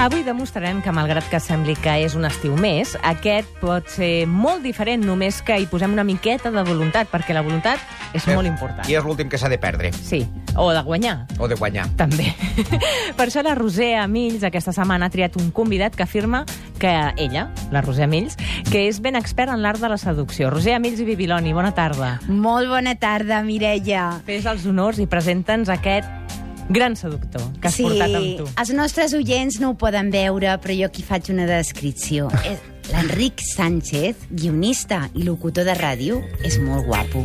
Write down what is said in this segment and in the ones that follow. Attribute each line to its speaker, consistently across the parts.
Speaker 1: Avui demostrarem que, malgrat que sembli que és un estiu més, aquest pot ser molt diferent, només que hi posem una miqueta de voluntat, perquè la voluntat és molt important.
Speaker 2: I és l'últim que s'ha de perdre,
Speaker 1: Sí, o de guanyar,
Speaker 2: o de guanyar.
Speaker 1: també. per això la Roser Amills aquesta setmana ha triat un convidat que afirma que ella, la Roser Amills, que és ben experta en l'art de la seducció. Roser Amills i Bibiloni, bona tarda.
Speaker 3: Molt bona tarda, Mireia.
Speaker 1: Fes els honors i presenta'ns aquest gran seductor que has
Speaker 3: sí,
Speaker 1: portat amb tu.
Speaker 3: els nostres oients no ho poden veure, però jo aquí faig una descripció. Eh, L'Enric Sánchez, guionista i locutor de ràdio, és molt guapo.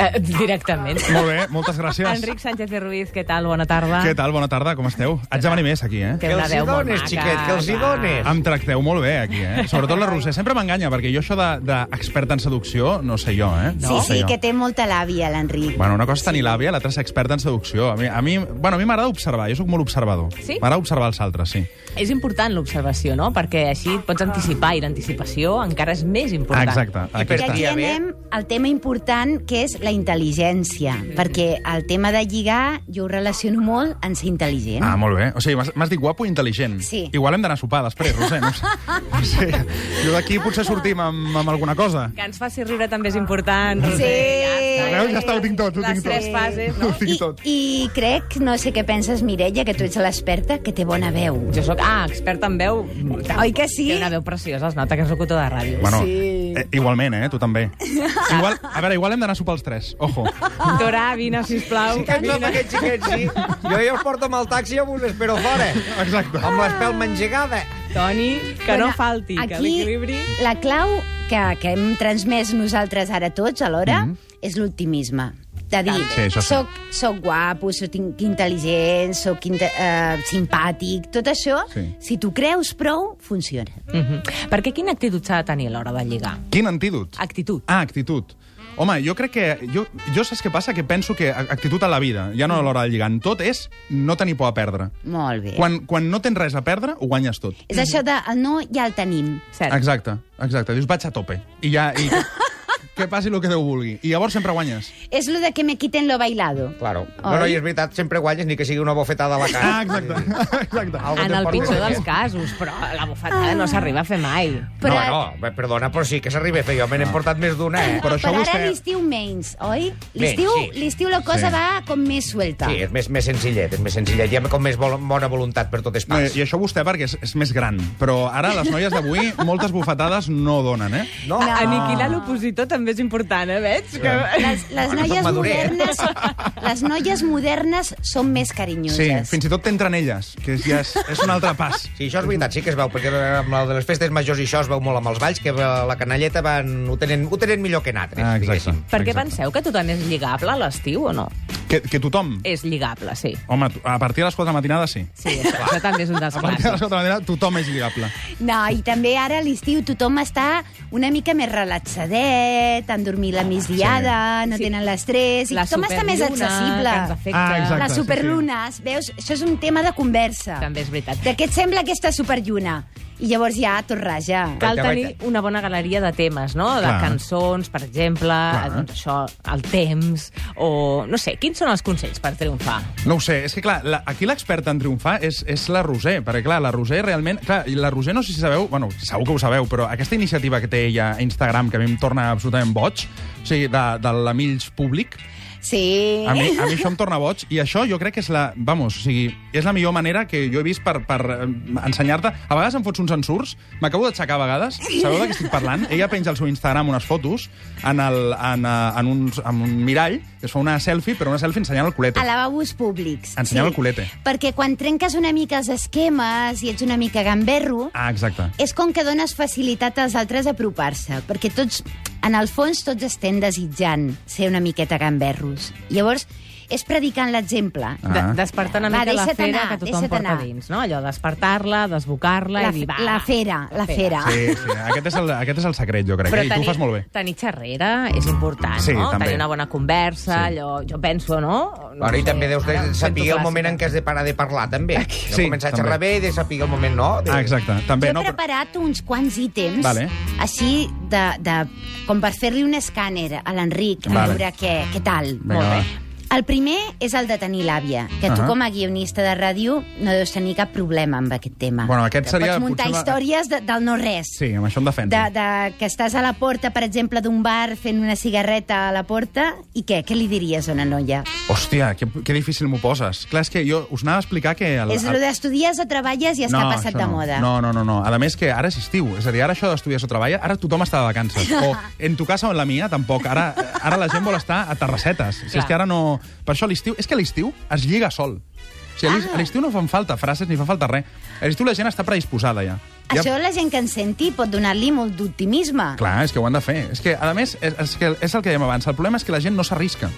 Speaker 1: Eh, directament.
Speaker 4: Molt bé, moltes gràcies.
Speaker 1: Enric Sánchez i Ruiz, què tal? Bona tarda.
Speaker 4: Què tal? Bona tarda, com esteu? Haig de venir més aquí, eh?
Speaker 1: Té
Speaker 2: Que
Speaker 1: una
Speaker 2: els hi
Speaker 1: veu molt
Speaker 2: dones,
Speaker 1: maca,
Speaker 2: xiquet, que els hi
Speaker 1: va.
Speaker 2: dones.
Speaker 4: Em tracteu molt bé, aquí, eh? Sobretot la Roser. Sempre m'enganya, perquè jo això de- d'expert de, en seducció no sé jo, eh?
Speaker 3: sí,
Speaker 4: No
Speaker 3: sí,
Speaker 4: sé jo.
Speaker 3: que té molta làbia, l'Enric.
Speaker 4: Bueno, una cosa és tenir l'àvia, l'altra és experta en seducció. A mi, a mi, bueno, a mi m'agrada observar, jo sóc molt observador.
Speaker 1: Sí?
Speaker 4: M'agrada observar els altres, sí.
Speaker 1: És important l'observació, no? Perquè així et pots anticipar i l'anticipació encara és més important.
Speaker 4: Exacte.
Speaker 2: I per
Speaker 3: I
Speaker 4: Aquesta.
Speaker 3: aquí
Speaker 2: Estaria bé.
Speaker 3: anem al tema important, que és la intel·ligència. Perquè el tema de lligar jo ho relaciono molt en ser intel·ligent.
Speaker 4: Ah, molt bé. O sigui, m'has- m'has dit guapo i intel·ligent.
Speaker 3: Sí.
Speaker 4: Igual hem d'anar a sopar després, Roser. No sé. No sé. Jo d'aquí potser sortim amb, amb alguna cosa.
Speaker 1: Que ens faci riure també és important.
Speaker 3: Sí. Eh,
Speaker 1: Roser,
Speaker 4: Veus? Ja està, ho tinc tot, ho
Speaker 1: Les
Speaker 4: tinc tot.
Speaker 1: tres fases, no?
Speaker 4: Ho tinc
Speaker 3: I,
Speaker 4: tot.
Speaker 3: I crec, no sé què penses, Mireia, que tu ets l'experta, que té bona veu.
Speaker 1: Jo sóc... Ah, experta en veu.
Speaker 3: Oi que sí?
Speaker 1: Té una veu preciosa, es nota que és locutor de ràdio.
Speaker 4: Bueno,
Speaker 3: Sí.
Speaker 4: eh, igualment, eh? Tu també. Igual, a veure, igual hem d'anar a sopar els tres. Ojo.
Speaker 1: Doctora, vine, sisplau.
Speaker 2: Sí que ens amb aquests xiquets, sí. Jo ja els porto amb el taxi i ja us espero fora.
Speaker 4: Exacte.
Speaker 2: Amb l'espelma engegada.
Speaker 1: Toni, que no
Speaker 3: Bueno,
Speaker 1: falti, que l'equilibri...
Speaker 3: La clau que, que hem transmès nosaltres ara tots alhora mm -hmm. és l'optimisme. De dir,
Speaker 4: Mhm. Sí, això sí.
Speaker 3: soc, soc guapo, soc in- intel·ligent, soc inte eh, simpàtic, tot això,
Speaker 4: Sí.
Speaker 3: si tu creus prou, funciona.
Speaker 1: Mm -hmm. Perquè quina actitud s'ha de tenir a l'hora de lligar?
Speaker 4: Quin antídot?
Speaker 1: Actitud.
Speaker 4: Ah, actitud. Home, jo crec que... Jo, jo saps què passa? Que penso que a- actitud a la vida, ja no a l'hora de lligar, en tot és no tenir por a perdre.
Speaker 3: Molt bé.
Speaker 4: Quan, quan no tens res a perdre, ho guanyes tot.
Speaker 3: És això de el no ja el tenim.
Speaker 1: Cert.
Speaker 4: Exacte, exacte. Dius, vaig a tope. I ja... I, que passi el que Déu vulgui. I llavors sempre guanyes.
Speaker 3: És lo de que me quiten lo bailado.
Speaker 2: Claro. No, no, i és veritat, sempre guanyes, ni que sigui una bofetada a la cara.
Speaker 4: Ah, exacte. exacte.
Speaker 2: Algo
Speaker 1: En
Speaker 2: te'n
Speaker 1: el
Speaker 2: portes
Speaker 1: pitjor
Speaker 2: d'aquest.
Speaker 1: dels casos, però la bufetada no s'arriba a fer mai.
Speaker 2: No,
Speaker 3: Però-
Speaker 2: no, bé, perdona, però sí que s'arriba a fer. Jo me
Speaker 4: Ah.
Speaker 2: n'he portat més d'una, eh?
Speaker 4: Però això
Speaker 3: Però ara
Speaker 4: vostè-
Speaker 3: l'estiu menys, oi?
Speaker 2: Menys,
Speaker 3: L'estiu
Speaker 2: sí.
Speaker 3: l'estiu la cosa
Speaker 4: Sí.
Speaker 3: va com més suelta.
Speaker 2: Sí, és més, més senzillet, és més senzillet. Hi ha com més vol, bona voluntat per totes
Speaker 4: No, i,
Speaker 2: parts.
Speaker 4: I això vostè perquè és, és més gran. Però ara les noies d'avui moltes bufetades no donen, eh?
Speaker 2: No,
Speaker 3: No.
Speaker 1: Aniquilar l'opositor també és important, eh? Veig que...
Speaker 3: Les, les
Speaker 2: Bueno,
Speaker 4: doncs
Speaker 3: noies
Speaker 2: sóc madurer, eh?
Speaker 3: modernes... Les noies modernes són més carinyoses.
Speaker 4: Sí, fins i tot t'entren elles, que és, ja és, és un altre pas.
Speaker 2: Sí, això és veritat, sí que es veu, perquè amb la de les festes majors i això es veu molt amb els balls, que eh, la canalleta van, ho, tenen, ho tenen millor que nosaltres,
Speaker 4: Ah, exacte.
Speaker 2: diguéssim.
Speaker 1: Per què
Speaker 4: Exacte.
Speaker 1: penseu que tothom és lligable a l'estiu o no?
Speaker 4: Que, que tothom...
Speaker 1: És lligable, sí.
Speaker 4: Home, tu- a partir de les 4 de la matinada sí.
Speaker 1: Sí, això, això també és un dels
Speaker 4: A partir de
Speaker 1: clàssics.
Speaker 4: les 4 de la matinada tothom és lligable.
Speaker 3: No, i també ara a l'estiu tothom està una mica més relaxadet, han dormit
Speaker 4: Ah,
Speaker 3: la migdiada, no
Speaker 1: Sí.
Speaker 3: tenen l'estrès, i tothom està més
Speaker 1: superlluna,
Speaker 3: accessible.
Speaker 1: que ens afecta.
Speaker 4: Ah, exacte.
Speaker 3: Les
Speaker 4: sí, sí.
Speaker 3: superlunes, veus? Això és un tema de conversa.
Speaker 1: També és veritat.
Speaker 3: De què et sembla aquesta superlluna? I llavors ja tot raja.
Speaker 1: Cal
Speaker 2: Perquè
Speaker 1: tenir una bona galeria de temes, no? De
Speaker 4: Clar.
Speaker 1: cançons, per exemple, doncs això, el temps, o... No sé, quins són els consells per triomfar?
Speaker 4: No ho sé, és que clar, la, aquí l'experta en triomfar és, és la Roser, perquè clar, la Roser realment... Clar, i la Roser no sé si sabeu, bueno, segur que ho sabeu, però aquesta iniciativa que té ella a Instagram, que a mi em torna absolutament boig, o sigui, de, de la Mills Públic,
Speaker 3: Sí.
Speaker 4: a mi, a mi això em torna boig, i això jo crec que és la... Vamos, o sigui, és la millor manera que jo he vist per, per eh, ensenyar-te. A vegades em fots uns ensurs, m'acabo d'aixecar a vegades, sabeu de què estic parlant? Ella penja al seu Instagram unes fotos en, el, en, eh, en, uns, en un mirall, es fa una selfie, però una selfie ensenyant el culet.
Speaker 3: A lavabos públics.
Speaker 4: Ensenyava el culete.
Speaker 3: Perquè quan trenques una mica els esquemes i ets una mica gamberro,
Speaker 4: Ah, exacte.
Speaker 3: és com que dones facilitat als altres a apropar-se, perquè tots, en el fons, tots estem desitjant ser una miqueta gamberros. Llavors, és predicant l'exemple.
Speaker 4: Ah.
Speaker 1: De, despertar una
Speaker 3: Va,
Speaker 1: mica la
Speaker 3: deixa't
Speaker 1: fera
Speaker 3: anar,
Speaker 1: que tothom
Speaker 3: deixa't
Speaker 1: porta
Speaker 3: anar.
Speaker 1: dins, no? Allò, despertar-la, desbocar-la
Speaker 3: La,
Speaker 1: i dir... Va,
Speaker 3: la
Speaker 1: va,
Speaker 3: fera, la fera.
Speaker 4: Sí, sí, aquest és el, aquest és el secret, jo crec.
Speaker 1: Però
Speaker 4: eh? I tu
Speaker 1: tenir,
Speaker 4: ho fas molt bé.
Speaker 1: tenir xerrera és important,
Speaker 4: Sí,
Speaker 1: no?
Speaker 4: també.
Speaker 1: Tenir una bona conversa,
Speaker 4: Sí.
Speaker 1: allò, jo penso, no? no
Speaker 2: Bueno, I també deus de
Speaker 1: ara em
Speaker 2: saber
Speaker 1: sento
Speaker 2: el moment
Speaker 1: clàssica.
Speaker 2: en què has de parar de parlar, també. No
Speaker 4: Sí,
Speaker 2: començar a
Speaker 4: també.
Speaker 2: xerrar bé i de saber el moment, no? De...
Speaker 4: Ah, exacte.
Speaker 3: Jo
Speaker 4: També,
Speaker 3: he
Speaker 4: no, però-
Speaker 3: preparat uns quants ítems,
Speaker 4: Vale.
Speaker 3: així, de, de, com per fer-li un escàner a l'Enric, a
Speaker 4: Vale.
Speaker 3: veure què, què tal.
Speaker 4: Vinga, va.
Speaker 3: bé. El primer és el de tenir l'àvia, que tu
Speaker 4: Ahà.
Speaker 3: com a guionista de ràdio no deus tenir cap problema amb aquest tema.
Speaker 4: Bueno, aquest
Speaker 3: Te
Speaker 4: seria
Speaker 3: Pots muntar
Speaker 4: potser la-
Speaker 3: històries de, del no-res.
Speaker 4: Sí, amb això em defenso.
Speaker 3: De, de, que estàs a la porta, per exemple, d'un bar fent una cigarreta a la porta, i què? Què li diries a una noia?
Speaker 4: Hòstia, que, que difícil m'ho poses. Clar, és que jo us anava a explicar que... El,
Speaker 3: És el d'estudies o treballes i has que ha passat
Speaker 4: això
Speaker 3: de
Speaker 4: no.
Speaker 3: moda.
Speaker 4: No, no, no, no. A més que ara és estiu. És a dir, ara això d'estudiar o treballa, ara tothom està de vacances. O en tu casa o en la mia, tampoc. Ara, ara la gent vol estar a terrassetes. Si és
Speaker 1: Clar.
Speaker 4: que ara no... Per això l'estiu... És que l'estiu es lliga sol. O sigui, a
Speaker 3: Ah.
Speaker 4: l'est- a l'estiu no fan falta frases ni fa falta res. A l'estiu la gent està predisposada ja. ja...
Speaker 3: Això la gent que en senti pot donar-li molt d'optimisme.
Speaker 4: Clar, és que ho han de fer. És que, a més, és, és, que és el que dèiem abans. El problema és que la gent no s'arrisca.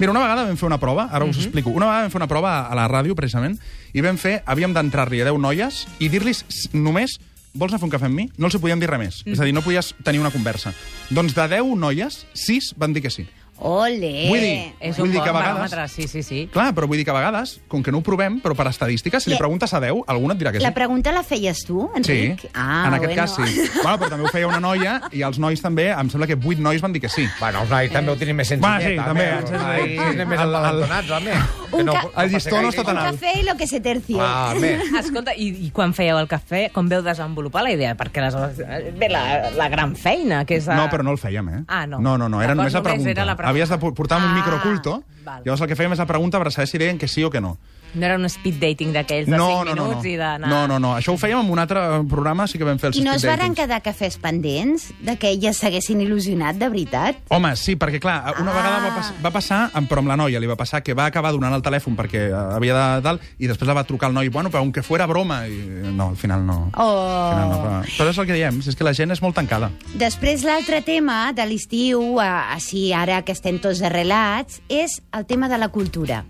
Speaker 4: Mira, una vegada vam fer una prova, ara us explico. Una vegada vam fer una prova a- a la ràdio, precisament, i vam fer, havíem d'entrar-li a 10 noies i dir-los només vols anar a fer un cafè amb mi? No els hi podíem dir res més. És a dir, no podies tenir una conversa. Doncs de 10 noies, 6 van dir que sí.
Speaker 3: Ole!
Speaker 4: Vull dir- eh,
Speaker 1: És
Speaker 4: Vull
Speaker 1: un
Speaker 4: dir
Speaker 1: bon
Speaker 4: que a vegades-
Speaker 1: baròmetre, sí, sí, sí.
Speaker 4: Clar, però vull dir que a vegades, com que no ho provem, però per estadística, si li
Speaker 3: Le-
Speaker 4: preguntes a 10, algú et dirà que sí.
Speaker 3: La pregunta la feies tu, Enric?
Speaker 4: Sí,
Speaker 3: Ah,
Speaker 4: en aquest
Speaker 3: bueno.
Speaker 4: cas sí. Bueno, però també ho feia una noia i els nois també, em sembla que 8 nois van dir que sí.
Speaker 2: Bueno, els nois també ho tenim més senzill.
Speaker 4: Va, sí, també,
Speaker 2: Els
Speaker 4: sí, sí.
Speaker 2: nois anem més
Speaker 4: El- el-
Speaker 2: abandonats, home. Que
Speaker 3: Un ca-
Speaker 2: passa
Speaker 4: El llistó no
Speaker 2: gaire.
Speaker 4: està
Speaker 3: Un
Speaker 4: tan alt.
Speaker 3: cafè i lo que se tercio.
Speaker 2: Ah, home.
Speaker 1: Escolta, i, i quan fèieu el cafè, com veu desenvolupar la idea? Perquè aleshores ve la, la gran feina, que és...
Speaker 4: No, però no el fèiem, eh?
Speaker 1: Ah, no.
Speaker 4: No, no, no era
Speaker 1: Llavors
Speaker 4: només la
Speaker 1: només
Speaker 4: pregunta.
Speaker 1: era la pregunta.
Speaker 4: Havies de pu- portar un
Speaker 1: Ah,
Speaker 4: microculto,
Speaker 1: val.
Speaker 4: llavors el que fèiem és la pregunta per saber si deien que sí o que no.
Speaker 1: No era un speed dating d'aquells de
Speaker 4: no,
Speaker 1: 5
Speaker 4: no, no,
Speaker 1: minuts
Speaker 4: no.
Speaker 1: i d'anar...
Speaker 4: no, no, no. Això ho fèiem en un altre programa, sí que vam fer els
Speaker 3: I no es
Speaker 4: speed
Speaker 3: varen
Speaker 4: datings.
Speaker 3: quedar cafès pendents de que elles s'haguessin il·lusionat, de veritat?
Speaker 4: Home, sí, perquè clar, una
Speaker 3: Ah.
Speaker 4: vegada va, pas va passar, amb, però amb la noia li va passar que va acabar donant el telèfon perquè eh, havia de dalt i després la va trucar el noi, bueno, però aunque fuera broma, i eh, no, al final no.
Speaker 3: Oh.
Speaker 4: Al final no però, però és el que diem, si és que la gent és molt tancada.
Speaker 3: Després, l'altre tema de l'estiu, a- així ara que estem tots arrelats, és el tema de la cultura.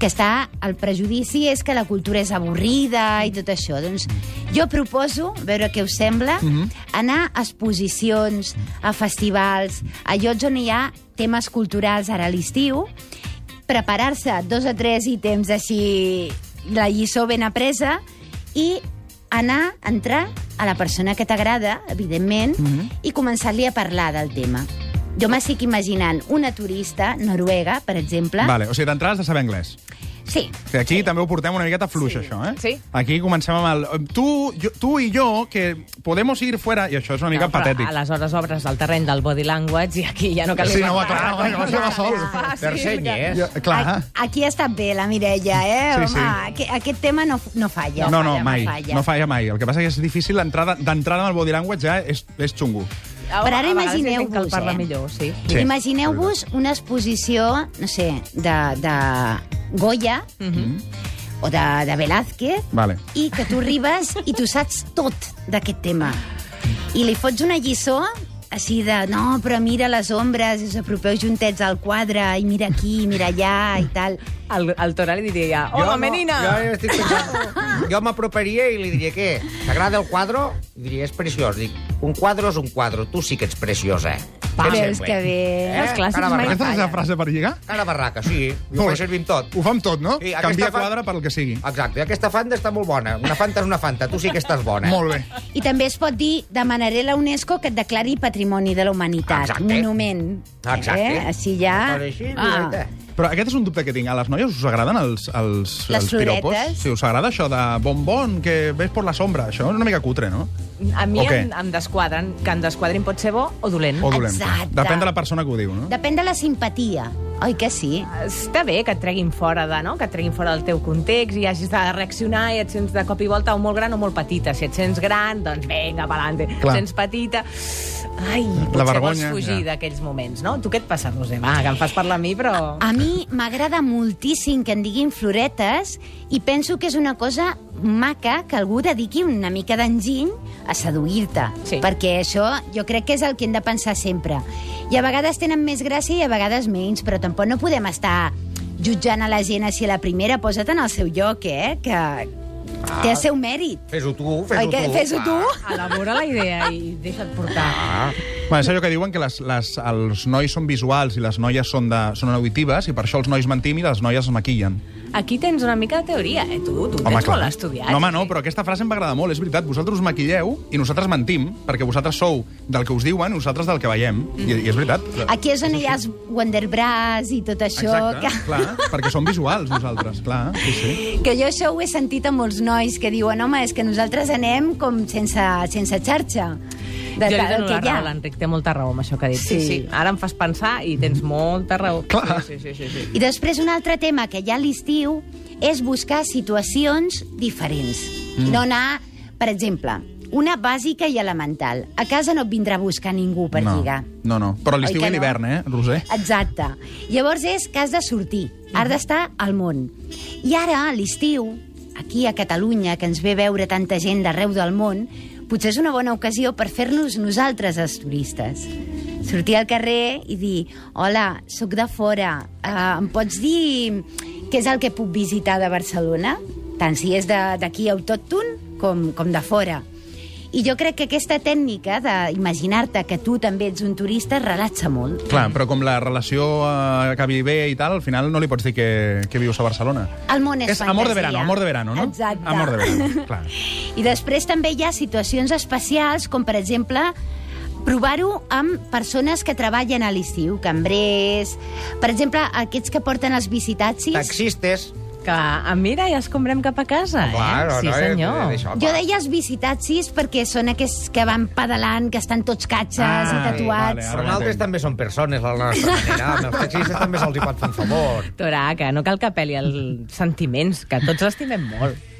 Speaker 3: Que està... El prejudici és que la cultura és avorrida i tot això. Doncs jo proposo, a veure què us sembla, anar a exposicions, a festivals, a llocs on hi ha temes culturals ara a l'estiu, preparar-se dos o tres ítems així, la lliçó ben apresa, i anar, entrar a la persona que t'agrada, evidentment, mm
Speaker 4: Mhm.
Speaker 3: -hmm. i començar-li a parlar del tema. Jo m'estic imaginant una turista noruega, per exemple.
Speaker 4: Vale, o sigui, d'entrada has de saber anglès.
Speaker 3: Sí,
Speaker 4: Que aquí també ho portem una miqueta fluix, sí. això, eh?
Speaker 1: Sí.
Speaker 4: Aquí comencem amb el... Tu, jo, tu i jo, que podemos ir fuera... I això és una mica
Speaker 1: No,
Speaker 4: no,
Speaker 1: però
Speaker 4: patètic.
Speaker 1: Aleshores obres del terreny del body language i aquí ja no cal...
Speaker 4: Sí,
Speaker 1: inventar
Speaker 4: no, va, clar,
Speaker 1: res.
Speaker 4: va, llavors ja va sol.
Speaker 1: Fàcil,
Speaker 2: Per seny,
Speaker 1: que-
Speaker 2: eh?
Speaker 4: Jo, clar.
Speaker 3: a- aquí ha estat bé la Mireia, eh?
Speaker 4: Sí,
Speaker 3: Home,
Speaker 4: sí.
Speaker 3: aqu- Aquest tema no, no falla.
Speaker 4: No, no,
Speaker 3: falla,
Speaker 4: mai.
Speaker 3: falla.
Speaker 4: No falla mai. El que passa que és difícil d'entrada d'entrada amb el body language ja és, és xungo.
Speaker 1: A-
Speaker 3: Però ara
Speaker 1: a vegades
Speaker 3: imagineu-vos,
Speaker 1: dicen que el parla
Speaker 3: eh?
Speaker 1: millor, sí.
Speaker 4: Sí.
Speaker 3: Sí. Imagineu-vos una exposició, no sé, de, de Goya mm
Speaker 4: Mhm.
Speaker 3: -hmm. o de, de Velázquez,
Speaker 4: Vale.
Speaker 3: i que tu arribes i tu saps tot d'aquest tema. I li fots una lliçó així de, no, però mira les ombres, us apropeu juntets al quadre, i mira aquí, i mira allà, i tal.
Speaker 1: El, el Tora li diria ja,
Speaker 2: Jo
Speaker 1: hola,
Speaker 2: no-
Speaker 1: menina!
Speaker 2: Jo, jo estic pensant... jo m'aproparia i li diria, què? T'agrada el quadro? I diria, és preciós. Dic, un quadro és un quadro. Tu sí que ets preciosa. Què et
Speaker 3: Veus
Speaker 2: sembla? Eh?
Speaker 3: que bé.
Speaker 1: Els clàssics
Speaker 2: Cara
Speaker 1: mai-
Speaker 4: Aquesta
Speaker 2: barraca.
Speaker 4: és la frase per lligar?
Speaker 2: Cara barraca, sí. Jo
Speaker 4: Molt
Speaker 2: ho
Speaker 4: bé.
Speaker 2: servir amb tot.
Speaker 4: Ho fa amb tot, no?
Speaker 2: Sí,
Speaker 4: Sí,
Speaker 2: aquesta
Speaker 4: Canvia
Speaker 2: fa-
Speaker 4: quadre pel que sigui.
Speaker 2: Exacte, aquesta fanta està molt bona. Una fanta és una fanta, tu sí que estàs bona.
Speaker 4: Molt bé.
Speaker 3: I també es pot dir, demanaré a la UNESCO que et declari Patrimoni de la Humanitat.
Speaker 2: Exacte.
Speaker 3: Monument.
Speaker 2: Exacte.
Speaker 3: Eh? Així ja...
Speaker 2: Però així, ah.
Speaker 4: Però aquest és un dubte que tinc. A les noies us agraden els, els,
Speaker 3: Les
Speaker 4: els piropos?
Speaker 3: floretes?
Speaker 4: Si us agrada això de bombón que ves por la sombra, això és una mica cutre, no?
Speaker 1: A mi
Speaker 4: O què?
Speaker 1: em, em desquadren. Que em desquadrin pot ser bo o dolent.
Speaker 4: O dolent.
Speaker 3: Exacte.
Speaker 4: Depèn de la persona que ho diu, no?
Speaker 3: Depèn de la simpatia, oi que sí?
Speaker 1: Està bé que et treguin fora de, no? que et treguin fora del teu context i hagis de reaccionar i et sents de cop i volta o molt gran o molt petita. Si et sents gran, doncs vinga, pelante.
Speaker 4: Clar.
Speaker 1: Sents petita... Ai, potser
Speaker 4: vergonya,
Speaker 1: vols fugir
Speaker 4: ja.
Speaker 1: d'aquells moments, no? Tu què et passa, Roser? Va, que em fas parlar a mi, però...
Speaker 3: A mi m'agrada moltíssim que en diguin floretes i penso que és una cosa maca que algú dediqui una mica d'enginy a seduir-te.
Speaker 1: Sí.
Speaker 3: Perquè això jo crec que és el que hem de pensar sempre. I a vegades tenen més gràcia i a vegades menys, però tampoc no podem estar jutjant a la gent si la primera posa't en el seu lloc, eh? Que té el seu mèrit.
Speaker 2: Fes-ho tu,
Speaker 3: Oi
Speaker 2: fes-ho
Speaker 3: que-
Speaker 2: tu.
Speaker 3: fes-ho tu?
Speaker 2: Ah.
Speaker 1: Elabora la idea i deixa't portar.
Speaker 2: Ah.
Speaker 4: Bueno, és allò que diuen que les, les, els nois són visuals i les noies són, de, són auditives i per això els nois mentim i les noies es maquillen.
Speaker 1: Aquí tens una mica de teoria, eh? Tu, tu ho tens molt estudiat.
Speaker 4: No, home, no, però aquesta frase em va agradar molt, és veritat. Vosaltres us maquilleu i nosaltres mentim, perquè vosaltres sou del que us diuen, nosaltres del que veiem. I, i és veritat.
Speaker 3: Aquí és on hi ha els Wonderbras i tot això.
Speaker 4: Exacte,
Speaker 3: que...
Speaker 4: clar, perquè som visuals nosaltres, clar. Sí, sí.
Speaker 3: Que jo això ho he sentit a molts nois que diuen, home, és que nosaltres anem com sense, sense xarxa.
Speaker 1: Jo li
Speaker 3: ta-
Speaker 1: dono
Speaker 3: del que
Speaker 1: la
Speaker 3: hi ha.
Speaker 1: raó, l'Enric té molta raó amb això que ha dit. Sí. sí,
Speaker 3: Sí.
Speaker 1: sí. Ara em fas pensar i tens molta raó.
Speaker 4: Clar.
Speaker 1: Sí, sí, sí, sí, sí.
Speaker 3: I després un altre tema que ja a l'estiu és buscar situacions diferents. Mm. No anar, per exemple, una bàsica i elemental. A casa no et vindrà a buscar ningú per
Speaker 4: no.
Speaker 3: lligar.
Speaker 4: No, no. Però a
Speaker 3: Oi
Speaker 4: l'estiu
Speaker 3: que
Speaker 4: i
Speaker 3: no?
Speaker 4: l'hivern, eh, Roser?
Speaker 3: Exacte. Llavors és que has de sortir, has d'estar al món. I ara, a l'estiu, aquí a Catalunya, que ens ve a veure tanta gent d'arreu del món, potser és una bona ocasió per fer-nos nosaltres els turistes. Sortir al carrer i dir «Hola, sóc de fora, eh, em pots dir què és el que puc visitar de Barcelona?» Tant si és de- d'aquí autòcton com, com de fora. I jo crec que aquesta tècnica d'imaginar-te que tu també ets un turista relaxa molt.
Speaker 4: Clar, però com la relació eh, acabi bé i tal, al final no li pots dir que, que vius a Barcelona.
Speaker 3: El món és,
Speaker 4: És amor
Speaker 3: fantasia.
Speaker 4: de verano, amor de verano, no?
Speaker 3: Exacte.
Speaker 4: Amor de verano, clar.
Speaker 3: I després també hi ha situacions especials, com per exemple provar-ho amb persones que treballen a l'estiu, cambrers... Per exemple, aquests que porten els visitaxis...
Speaker 2: Taxistes.
Speaker 1: Clar, ah, mira, ja escombrem cap a casa, eh?
Speaker 2: Claro,
Speaker 1: sí,
Speaker 2: no, eh,
Speaker 1: senyor.
Speaker 2: d'això,
Speaker 3: Jo
Speaker 2: va.
Speaker 3: deia els visitaxis perquè són aquests que van pedalant, que estan tots catxes
Speaker 4: Ah,
Speaker 3: i tatuats.
Speaker 4: vale,
Speaker 2: Però nosaltres també som persones, a la nostra manera. Amb els taxistes també se'ls hi pot fer un favor.
Speaker 1: Toraca, no cal que apel·li els sentiments, que tots l'estimem molt.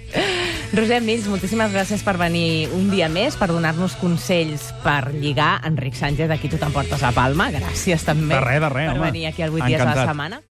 Speaker 1: Roser Mills, moltíssimes gràcies per venir un dia més, per donar-nos consells per lligar. Enric Sánchez, aquí tu t'emportes la palma. Gràcies també
Speaker 4: De res, de res,
Speaker 1: per
Speaker 4: home.
Speaker 1: venir aquí al 8 dies a la
Speaker 4: Encantat.
Speaker 1: setmana.